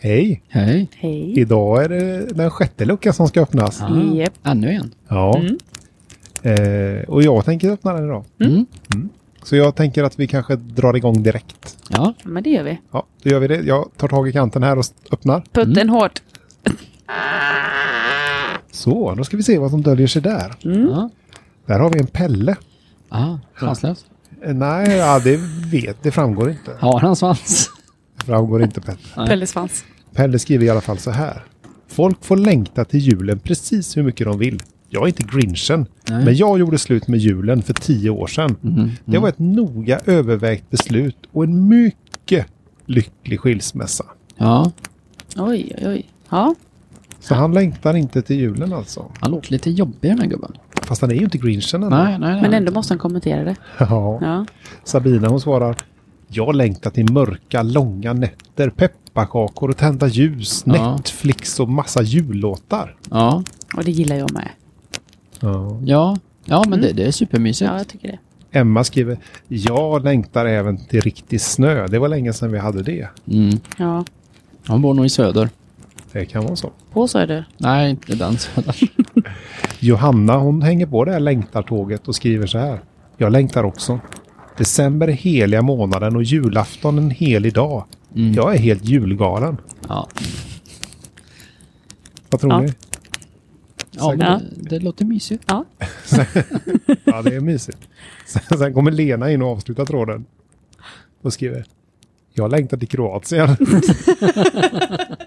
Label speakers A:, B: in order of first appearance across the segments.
A: Hej!
B: Hej.
C: Hej.
A: Idag är det den sjätte luckan som ska öppnas.
B: Ah,
C: Japp.
B: Ännu en.
A: Ja. Eh, och jag tänker öppna den idag.
B: Mm.
A: Så jag tänker att vi kanske drar igång direkt.
B: Ja,
C: Ja, men det gör vi.
A: Ja, då gör vi det. Jag tar tag i kanten här och s- öppnar.
C: Putten hårt.
A: Så, då ska vi se vad som döljer sig där.
C: Mm.
B: ja.
A: Där har vi en Pelle.
B: Ah, svanslös.
A: Eh, nej, ja, det vet, det framgår inte.
B: Har han svans?
A: Det framgår inte Pelle.
B: Nej.
C: Pelle Svans.
A: Pelle skriver i alla fall så här. Folk får längta till julen precis hur mycket de vill. Jag är inte grinchen,
B: Nej. Mhm,
A: men jag gjorde slut med julen för tio år sedan. Det var ett noga övervägt beslut och en mycket lycklig skilsmässa.
B: Ja,
C: Oj, oj, oj. Ja.
A: Så han längtar inte till julen alltså.
B: han låter lite jobbig den här gubben.
A: Fast han är ju inte grinchen ännu.
B: Nej, nej, nej.
C: Men ändå måste han kommentera det.
A: Ja.
C: Ja.
A: Sabina hon svarar. Jag längtar till mörka, långa nätter, pepparkakor och tända ljus,
B: Ja.
A: Netflix och massa jullåtar.
B: Ja,
C: Och det gillar jag med.
A: Ja.
B: ja. Ja, men det, det är supermysigt.
C: Mm. Ja, jag tycker det.
A: Emma skriver, jag längtar även till riktig snö. Det var länge sedan vi hade det.
B: Mm.
C: Ja.
B: Han bor nog i söder.
A: Det kan vara så.
C: På Söder.
B: Nej, inte den söder.
A: Johanna, hon hänger på det här längtartåget och skriver så här. Jag längtar också. December är heliga månaden och julafton en helig dag. Jag är helt julgalen.
B: Ja,
A: Vad tror
C: Ja.
A: ni?
B: ja men
C: Ja.
B: det, det låter mysigt.
C: Ja.
A: Ja, det är mysigt. Sen, sen kommer Lena in och avslutar tråden. Och skriver. Jag längtar till Kroatien.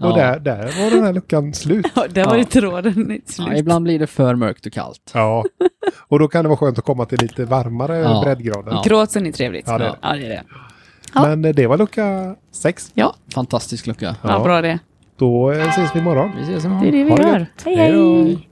B: Ja.
A: Och där, där var den här luckan slut.
C: ja där
B: var Ja. ju
C: tråden i
B: Ja, ibland blir det för mörkt och kallt.
A: Ja, och då kan det vara skönt att komoma till lite varmare
B: Ja.
A: breddgrader.
B: Ja.
C: Kroatien är trevligt.
A: Ja, det är det.
C: Ja, det är det. Ja.
A: Men eh, det var lucka sex.
C: Ja,
B: Fantastisk lucka.
C: ja. bra det.
A: Då eh, ses vi imorgon.
B: Vi ses
C: Det är
B: imorgon.
C: det vi
A: Ha det
C: gör.
A: gött.
C: Hej,
A: Hej då.
C: hej.